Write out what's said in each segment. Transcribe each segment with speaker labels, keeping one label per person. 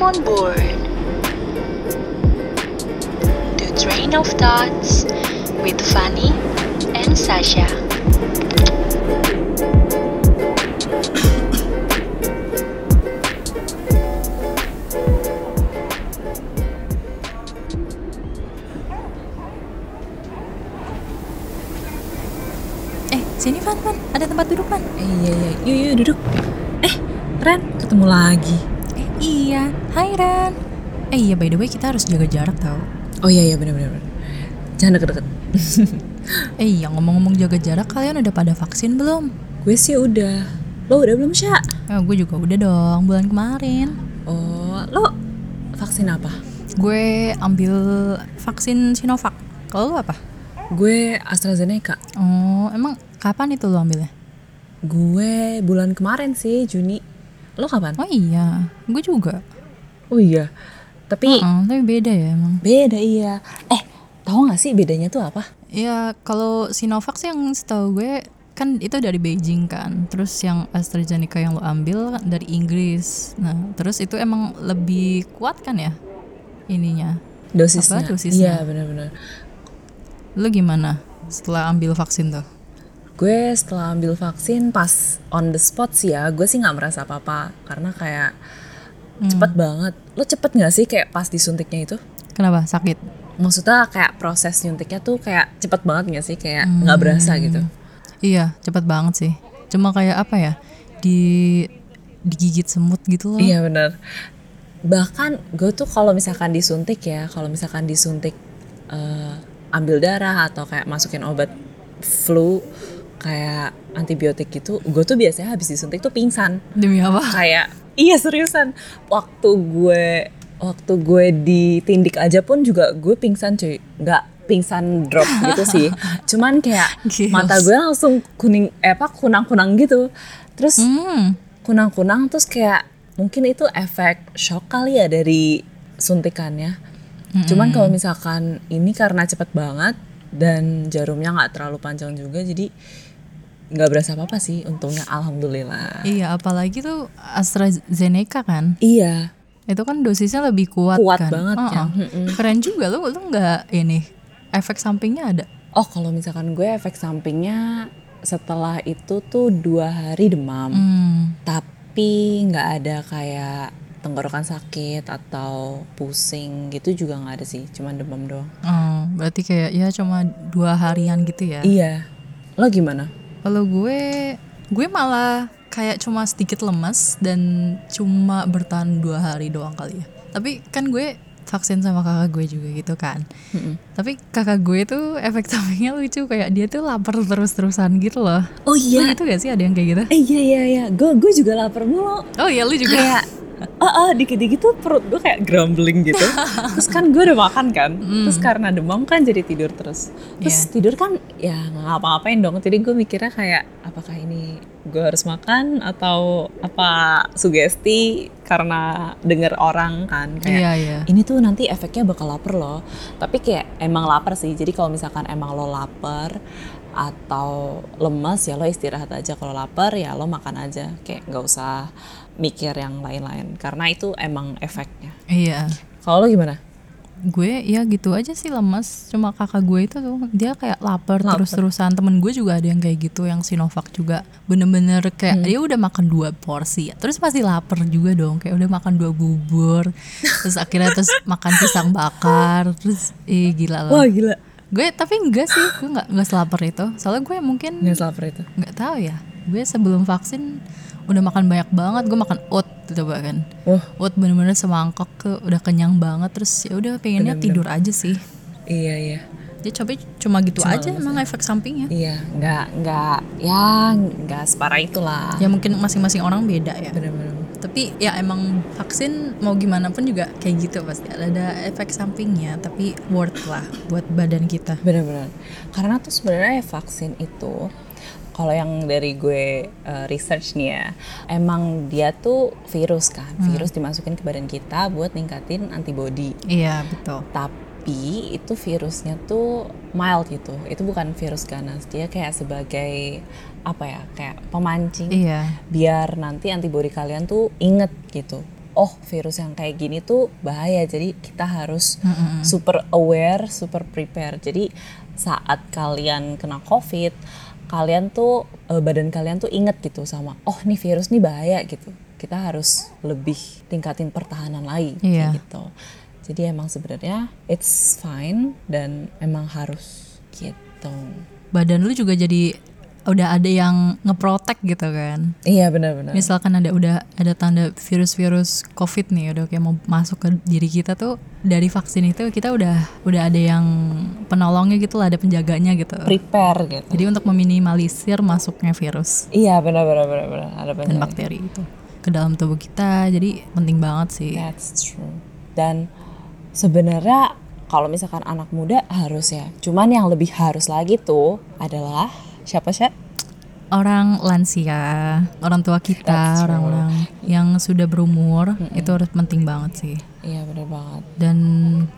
Speaker 1: on board. The Train of Thoughts with Fanny and Sasha.
Speaker 2: Eh, sini Van, Van. Ada tempat duduk, Van.
Speaker 3: Eh, iya iya, yuk yuk duduk. Eh, Ren, ketemu lagi.
Speaker 2: Eh, iya. Hai, Ren. Eh, iya, by the way, kita harus jaga jarak tau.
Speaker 3: Oh iya iya benar-benar. Jangan deket-deket.
Speaker 2: Eh, iya, ngomong-ngomong jaga jarak, kalian udah pada vaksin belum?
Speaker 3: Gue sih udah. Lo udah belum Sya?
Speaker 2: Eh, gue juga udah dong, bulan kemarin.
Speaker 3: Oh, lo vaksin apa?
Speaker 2: Gue ambil vaksin Sinovac. Kalau lu apa?
Speaker 3: Gue AstraZeneca.
Speaker 2: Oh, emang kapan itu lo ambilnya?
Speaker 3: Gue bulan kemarin sih Juni. Lo kapan?
Speaker 2: Oh iya, gue juga.
Speaker 3: Oh iya. Tapi
Speaker 2: Eh, tapi beda ya emang.
Speaker 3: beda iya. Eh, tahu nggak sih bedanya tuh apa?
Speaker 2: Ya, kalau Sinovac sih yang setahu gue kan itu dari Beijing kan. Terus yang AstraZeneca yang lo ambil kan dari Inggris. Nah, terus itu emang lebih kuat kan ya ininya.
Speaker 3: Dosisnya.
Speaker 2: Apa? Dosisnya.
Speaker 3: Iya benar-benar.
Speaker 2: Lo gimana setelah ambil vaksin tuh?
Speaker 3: Gue setelah ambil vaksin pas on the spot sih ya, gue sih nggak merasa apa-apa karena kayak cepet banget. Lo cepet nggak sih kayak pas disuntiknya itu?
Speaker 2: Kenapa sakit?
Speaker 3: Maksudnya kayak proses nyuntiknya tuh kayak cepet banget nggak sih kayak nggak berasa gitu?
Speaker 2: Iya, cepet banget sih. Cuma kayak apa ya? Di digigit semut gitu loh.
Speaker 3: Iya benar. Bahkan gue tuh kalau misalkan disuntik ya, kalau misalkan disuntik eh, ambil darah atau kayak masukin obat flu kayak antibiotik gitu, gue tuh biasanya habis disuntik tuh pingsan.
Speaker 2: Demi apa?
Speaker 3: kayak iya seriusan waktu gue waktu gue ditindik aja pun juga gue pingsan cuy nggak pingsan drop gitu sih cuman kayak
Speaker 2: Gils.
Speaker 3: mata gue langsung kuning eh, apa kunang kunang gitu terus
Speaker 2: Hmm.
Speaker 3: kunang kunang terus kayak mungkin itu efek shock kali ya dari suntikannya cuman kalau misalkan ini karena cepet banget dan jarumnya nggak terlalu panjang juga jadi nggak berasa apa apa sih untungnya alhamdulillah
Speaker 2: Iya, apalagi tuh AstraZeneca kan.
Speaker 3: iya
Speaker 2: itu kan dosisnya lebih kuat,
Speaker 3: Kuat
Speaker 2: kan
Speaker 3: banget
Speaker 2: Heeh.
Speaker 3: kan.
Speaker 2: keren juga lu lu nggak ini efek sampingnya ada
Speaker 3: Oh kalau misalkan gue efek sampingnya setelah itu tuh dua hari demam,
Speaker 2: hmm.
Speaker 3: tapi nggak ada kayak tenggorokan sakit atau pusing gitu juga nggak ada sih, cuman demam doang.
Speaker 2: Oh, berarti kayak ya cuma dua harian gitu ya
Speaker 3: Iya, lo gimana?
Speaker 2: kalau gue gue malah kayak cuma sedikit lemas dan cuma bertahan dua hari doang kali ya tapi kan gue vaksin sama kakak gue juga gitu kan tapi kakak gue tuh efek sampingnya lucu kayak dia tuh lapar terus terusan gitu loh
Speaker 3: Oh
Speaker 2: Lu gitu gak sih ada yang kayak gitu
Speaker 3: eh, iya iya iya, gue gue juga lapar mulu.
Speaker 2: oh iya lu juga
Speaker 3: Kayak, oh, oh dikit-dikit tuh perut gue kayak grumbling gitu. terus kan gue udah makan kan, terus karena demam kan jadi tidur terus. Terus
Speaker 2: Iya.
Speaker 3: tidur kan ya nggak ngapa-ngapain dong. Jadi gue mikirnya kayak apakah ini gue harus makan atau apa sugesti karena denger orang kan kayak
Speaker 2: iya iya
Speaker 3: ini tuh nanti efeknya bakal lapar loh. Tapi kayak emang lapar sih. Jadi kalau misalkan emang lo lapar atau lemes ya lo istirahat aja. Kalau lapar ya lo makan aja. Kayak nggak usah mikir yang lain-lain. Karena itu emang efeknya.
Speaker 2: iya
Speaker 3: Kalau lo gimana?
Speaker 2: gue ya gitu aja sih lemas cuma kakak gue itu tuh dia kayak lapar, terus-terusan temen gue juga ada yang kayak gitu yang Sinovac juga bener-bener kayak dia udah makan dua porsi terus pasti lapar juga dong kayak udah makan dua bubur terus akhirnya terus makan pisang bakar terus eh gila loh
Speaker 3: gila.
Speaker 2: gue tapi enggak sih gue nggak nggak selaper itu soalnya gue mungkin
Speaker 3: Nggak lapar itu.
Speaker 2: nggak tahu ya gue sebelum vaksin udah makan banyak banget gue makan oat gitu bahkan
Speaker 3: Wah
Speaker 2: oat bener-bener semangkok ke udah kenyang banget terus ya udah pengennya tidur aja sih
Speaker 3: iya iya.
Speaker 2: dia coba cuma gitu aja emang efek sampingnya
Speaker 3: Iya nggak nggak ya nggak separah itulah.
Speaker 2: ya mungkin masing-masing orang beda ya
Speaker 3: Iya, Bener-bener.
Speaker 2: tapi ya emang vaksin mau gimana pun juga kayak gitu pasti ada, ada efek sampingnya tapi worth lah buat badan kita
Speaker 3: Benar-benar. Karena tuh sebenarnya ya vaksin itu kalau yang dari gue eh, research nih ya, emang dia tuh virus kan. Virus dimasukin ke badan kita buat ningkatin antibody.
Speaker 2: iya betul
Speaker 3: Tapi itu virusnya tuh mild gitu. Itu bukan virus ganas. Dia kayak sebagai apa ya? Kayak pemancing
Speaker 2: iya
Speaker 3: biar nanti antibody kalian tuh inget gitu. oh virus yang kayak gini tuh bahaya jadi kita harus super aware super prepare jadi saat kalian kena covid kalian tuh eh, badan kalian tuh inget gitu sama oh nih virus nih bahaya gitu kita harus lebih tingkatin pertahanan lagi kayak
Speaker 2: Iya.
Speaker 3: gitu jadi emang sebenarnya it's fine dan emang harus gitu
Speaker 2: Badan lu juga jadi udah ada yang ngeprotek gitu kan.
Speaker 3: Iya benar-benar.
Speaker 2: Misalkan ada udah ada tanda virus-virus COVID nih udah kayak mau masuk ke diri kita tuh dari vaksin itu kita udah udah ada yang penolongnya gitu lah, ada penjaganya gitu.
Speaker 3: Prepare gitu.
Speaker 2: Jadi untuk meminimalisir masuknya virus
Speaker 3: Iya benar-benar benar-benar ada
Speaker 2: dan
Speaker 3: banyak.
Speaker 2: bakteri itu ke dalam tubuh kita. Jadi penting banget sih.
Speaker 3: That's true. Dan sebenarnya kalau misalkan anak muda harus ya. Cuman yang lebih harus lagi tuh adalah siapa sih?
Speaker 2: Orang lansia, orang tua
Speaker 3: That's
Speaker 2: kita,
Speaker 3: true.
Speaker 2: orang-orang yang sudah berumur itu harus penting banget sih.
Speaker 3: Iya benar banget.
Speaker 2: dan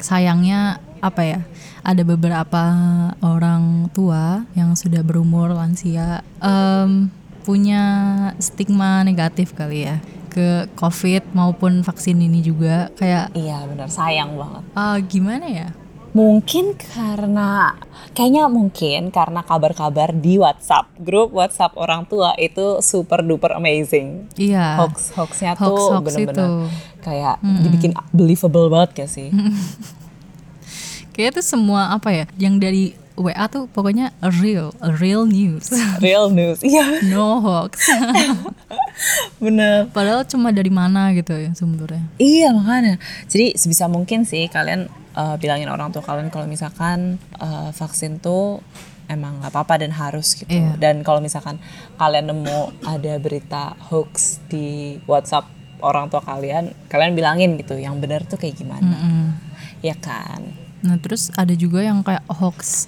Speaker 2: sayangnya apa ya ada beberapa orang tua yang sudah berumur lansia em, punya stigma negatif kali ya ke covid maupun vaksin ini juga kayak
Speaker 3: Iya benar sayang banget.
Speaker 2: ah, gimana ya
Speaker 3: Mungkin karena kayaknya mungkin karena kabar-kabar di WhatsApp grup WhatsApp orang tua itu super duper amazing.
Speaker 2: iya
Speaker 3: Hoax hoaxnya tuh
Speaker 2: Hoax-hoax
Speaker 3: bener-bener
Speaker 2: itu.
Speaker 3: kayak dibikin believable banget gak sih?
Speaker 2: kayak itu semua apa ya yang dari WA tuh pokoknya real real news
Speaker 3: Real news. Iya
Speaker 2: no hoax
Speaker 3: bener.
Speaker 2: padahal cuma dari mana gitu ya sumbernya
Speaker 3: Iya makanya. Jadi sebisa mungkin sih kalian eh, bilangin orang tua kalian kalau misalkan eh, vaksin tuh emang nggak apa-apa dan harus gitu.
Speaker 2: Iya.
Speaker 3: Dan kalau misalkan kalian nemu ada berita hoax di WhatsApp orang tua kalian, kalian bilangin gitu. Yang benar tuh kayak gimana?
Speaker 2: Mm.
Speaker 3: Ya kan.
Speaker 2: Nah terus ada juga yang kayak hoax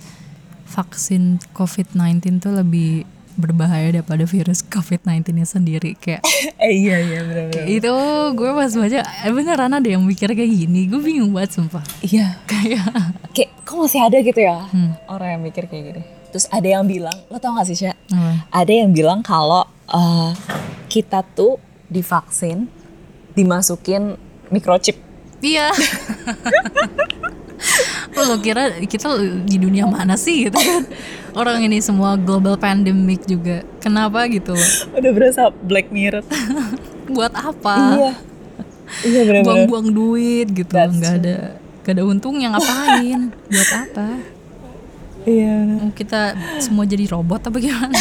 Speaker 2: vaksin COVID-19 tuh lebih berbahaya daripada virus COVID-19-nya sendiri kayak
Speaker 3: eh iya iya benar-benar.
Speaker 2: itu gue pas baca eh, beneran ada yang mikir kayak gini gue bingung banget sumpah
Speaker 3: Iya.
Speaker 2: kayak
Speaker 3: Kayak kok masih ada gitu ya orang yang mikir kayak gini. Terus ada yang bilang, lo tau gak sih Sya?
Speaker 2: Apa?
Speaker 3: ada yang bilang kalau eh, kita tuh divaksin dimasukin microchip.
Speaker 2: iya lo kira kita di dunia mana sih gitu kan orang ini semua global pandemic juga kenapa gitu loh?
Speaker 3: Udah berasa Black Mirror.
Speaker 2: buat apa
Speaker 3: iya. Iya benar-benar.
Speaker 2: buang-buang duit gitu loh,
Speaker 3: That's
Speaker 2: nggak ada nggak ada untungnya ngapain buat apa
Speaker 3: Iya. bener.
Speaker 2: Mau kita semua jadi robot apa gimana?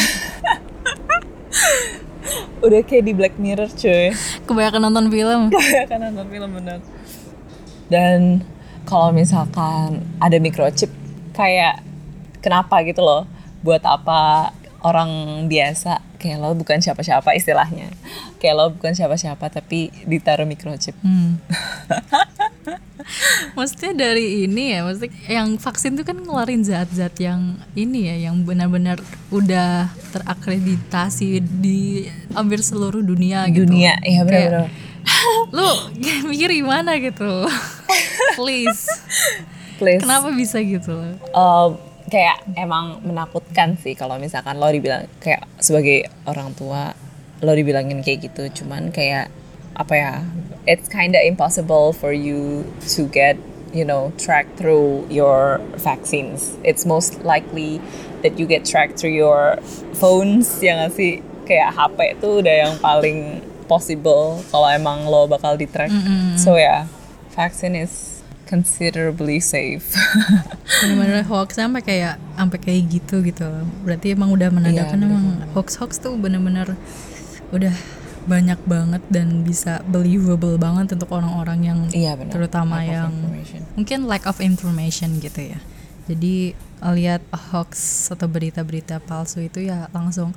Speaker 3: Udah kayak di Black Mirror cuy.
Speaker 2: Kebanyakan nonton film.
Speaker 3: kan nonton film bener. Dan kalau misalkan ada microchip kayak kenapa gitu loh? Buat apa orang biasa kayak lo bukan siapa-siapa istilahnya. Kayak lo bukan siapa-siapa tapi ditaruh microchip.
Speaker 2: Hmm. Maksudnya dari ini ya, maksudnya yang vaksin tuh kan ngeluarin zat-zat yang ini ya, yang benar-benar udah terakreditasi di hampir seluruh dunia gitu.
Speaker 3: dunia
Speaker 2: Kayak,
Speaker 3: ya benar-benar
Speaker 2: Lu mikir gimana gitu? Please,
Speaker 3: please
Speaker 2: kenapa bisa gitu? loh?
Speaker 3: Um, kayak emang menakutkan sih kalau misalkan lo dibilang kayak sebagai orang tua lo dibilangin kayak gitu cuman kayak apa ya it's kinda impossible for you to get you know track through your vaccines it's most likely that you get tracked through your phones ya nggak sih kayak HP itu udah yang paling possible kalau emang lo bakal di track so ya vaccine is considerably safe
Speaker 2: bener-bener hoax sampai kayak sampai kayak gitu gitu loh. berarti emang udah menandakan
Speaker 3: Iya,
Speaker 2: emang hoax hoax tuh bener-bener udah banyak banget dan bisa believable banget untuk orang-orang yang
Speaker 3: Iya benar.
Speaker 2: terutama
Speaker 3: Lack of
Speaker 2: yang
Speaker 3: information.
Speaker 2: mungkin lack of information gitu ya jadi eh, lihat hoax atau berita-berita palsu itu ya langsung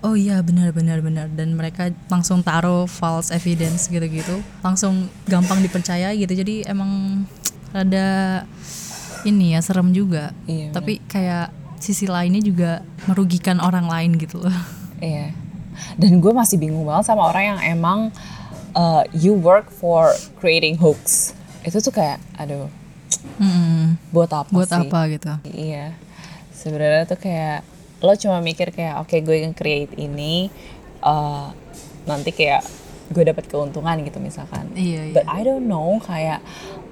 Speaker 2: oh iya benar benar benar dan mereka langsung taruh false evidence gitu-gitu langsung gampang dipercaya gitu jadi emang ada ini ya serem juga
Speaker 3: Iya, benar.
Speaker 2: tapi kayak sisi lainnya juga merugikan orang lain gitu loh
Speaker 3: Iya. Dan gue masih bingung banget sama orang yang emang uh, you work for creating hoax. Itu tuh kayak aduh
Speaker 2: Mm-mm.
Speaker 3: buat apa
Speaker 2: buat
Speaker 3: sih?
Speaker 2: apa gitu
Speaker 3: Iya. Sebenarnya tuh kayak lo cuma mikir kayak oke gue nge-create ini uh, eh, nanti kayak gue dapat keuntungan gitu misalkan.
Speaker 2: Iya,
Speaker 3: But I don't know kayak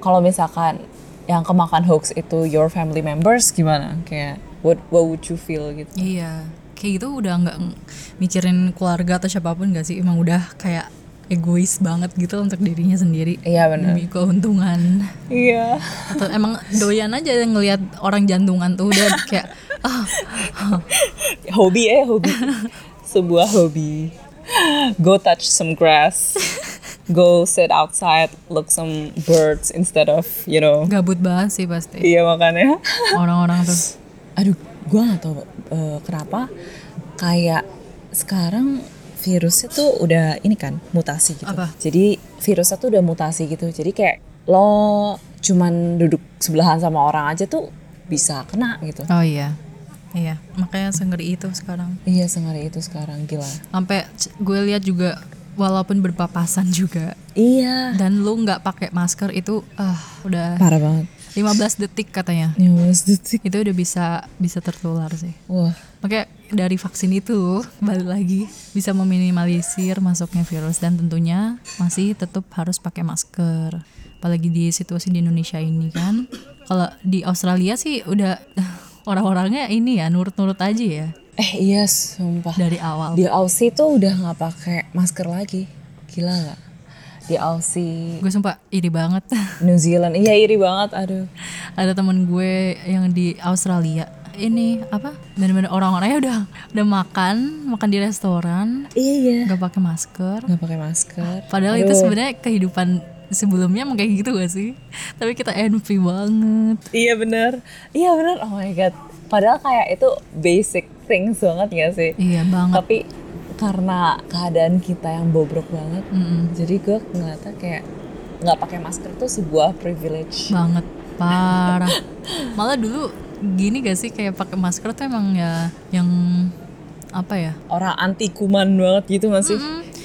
Speaker 3: kalau misalkan yang kemakan hoax itu your family members gimana? Kayak what what would you feel gitu?
Speaker 2: Iya, kayak gitu udah nggak ng- mikirin keluarga atau siapapun gak sih? Emang udah kayak egois banget gitu untuk dirinya sendiri
Speaker 3: Iya benar.
Speaker 2: demi keuntungan.
Speaker 3: Iya.
Speaker 2: Atau emang doyan aja ngelihat orang jantungan tuh udah kayak ah
Speaker 3: hobi eh hobi. Sebuah hobi. Go touch some grass. Go sit outside, look some birds instead of, you know.
Speaker 2: gabut banget sih pasti
Speaker 3: Iya makanya.
Speaker 2: orang-orang tuh.
Speaker 3: aduh gue nggak tahu eh, kenapa kayak sekarang virusnya tuh udah ini kan mutasi gitu
Speaker 2: Apa?
Speaker 3: jadi virusnya tuh udah mutasi gitu jadi kayak lo cuman duduk sebelahan sama orang aja tuh bisa kena gitu
Speaker 2: Oh iya. Iya, makanya sengeri itu sekarang.
Speaker 3: iya sengari itu sekarang gila
Speaker 2: Sampai c- gue lihat juga walaupun berpapasan juga
Speaker 3: iya
Speaker 2: dan lu nggak pakai masker itu ah udah
Speaker 3: parah banget
Speaker 2: 15 detik katanya.
Speaker 3: news detik
Speaker 2: Itu udah bisa bisa tertular sih.
Speaker 3: wah
Speaker 2: Makanya dari vaksin itu balik lagi bisa meminimalisir masuknya virus dan tentunya masih tetap harus pakai masker. Apalagi di situasi di Indonesia ini kan. Kalau di Australia sih udah orang-orangnya ini ya nurut-nurut aja ya
Speaker 3: eh iya sumpah
Speaker 2: dari awal.
Speaker 3: di Aussie tuh udah nggak pakai masker lagi gila nggak di Aussie
Speaker 2: Gue sumpah iri banget.
Speaker 3: New Zealand iya iri banget aduh
Speaker 2: Ada temen gue yang di Australia ini apa bener-bener orang-orangnya udah udah makan makan di restoran
Speaker 3: iya iya
Speaker 2: nggak pakai masker
Speaker 3: nggak pakai masker
Speaker 2: Padahal itu sebenarnya kehidupan sebelumnya emang kayak gitu gak sih? Tapi kita envy banget.
Speaker 3: iya bener iya bener oh my god padahal kayak itu basic things banget ya sih
Speaker 2: Iya banget.
Speaker 3: tapi karena keadaan kita yang bobrok banget
Speaker 2: Mm-mm.
Speaker 3: jadi gue ngeliatnya kayak nggak pakai masker tuh sebuah privilege
Speaker 2: Banget parah. Malah dulu gini gak sih kayak pakai masker tuh emang ya yang apa ya?
Speaker 3: orang anti kuman banget gitu masih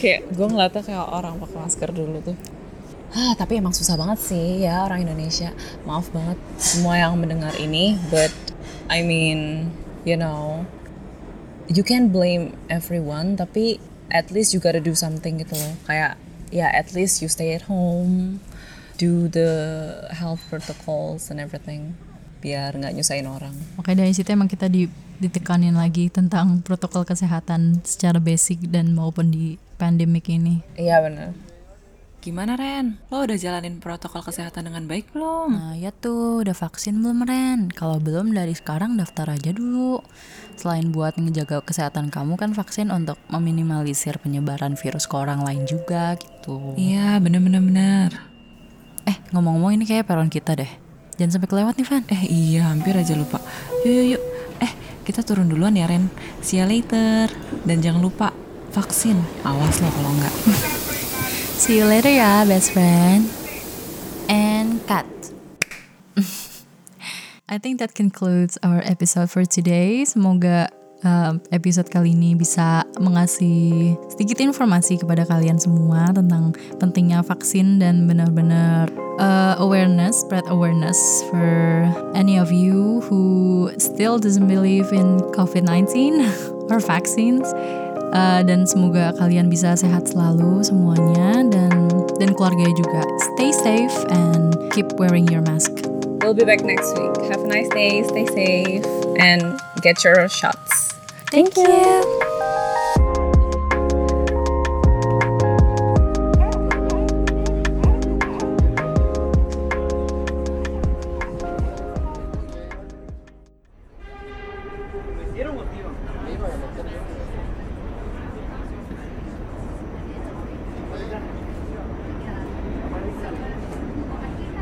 Speaker 3: kayak gue ngeliatnya kayak orang pakai masker dulu tuh Hah, tapi emang susah banget sih ya orang Indonesia. Maaf banget semua yang mendengar ini, but I mean, you know, you can blame everyone, tapi at least you gotta do something gitu loh. Kayak ya at least you stay at home, do the health protocols and everything biar nggak nyusahin orang.
Speaker 2: Makanya dari situ emang kita di, ditekanin lagi tentang protokol kesehatan secara basic dan maupun di pandemic ini.
Speaker 3: Iya bener. Gimana Ren? Lo udah jalanin protokol kesehatan dengan baik belum?
Speaker 2: Nah, ya tuh, udah vaksin belum Ren? Kalau belum dari sekarang daftar aja dulu. Selain buat ngejaga kesehatan kamu kan vaksin untuk meminimalisir penyebaran virus ke orang lain juga gitu.
Speaker 4: Iya, bener-bener bener.
Speaker 2: Eh, ngomong-ngomong ini kayak peron kita deh. Jangan sampai kelewat nih, Van.
Speaker 4: Eh iya, hampir aja lupa. Yuk, yuk, yuk. Eh, kita turun duluan ya, Ren. See you later. Dan jangan lupa vaksin. Awas lo kalau enggak.
Speaker 2: See you later ya, best friend. And cut. I think that concludes our episode for today. Semoga um, episode kali ini bisa mengasih sedikit informasi kepada kalian semua tentang pentingnya vaksin dan benar-benar uh, awareness, spread awareness for any of you who still doesn't believe in COVID-19 or vaccines. Uh, dan semoga kalian bisa sehat selalu semuanya dan dan keluarga juga. Stay safe and keep wearing your mask.
Speaker 3: We'll be back next week. Have a nice day, stay safe, and get your shots.
Speaker 2: Thank you.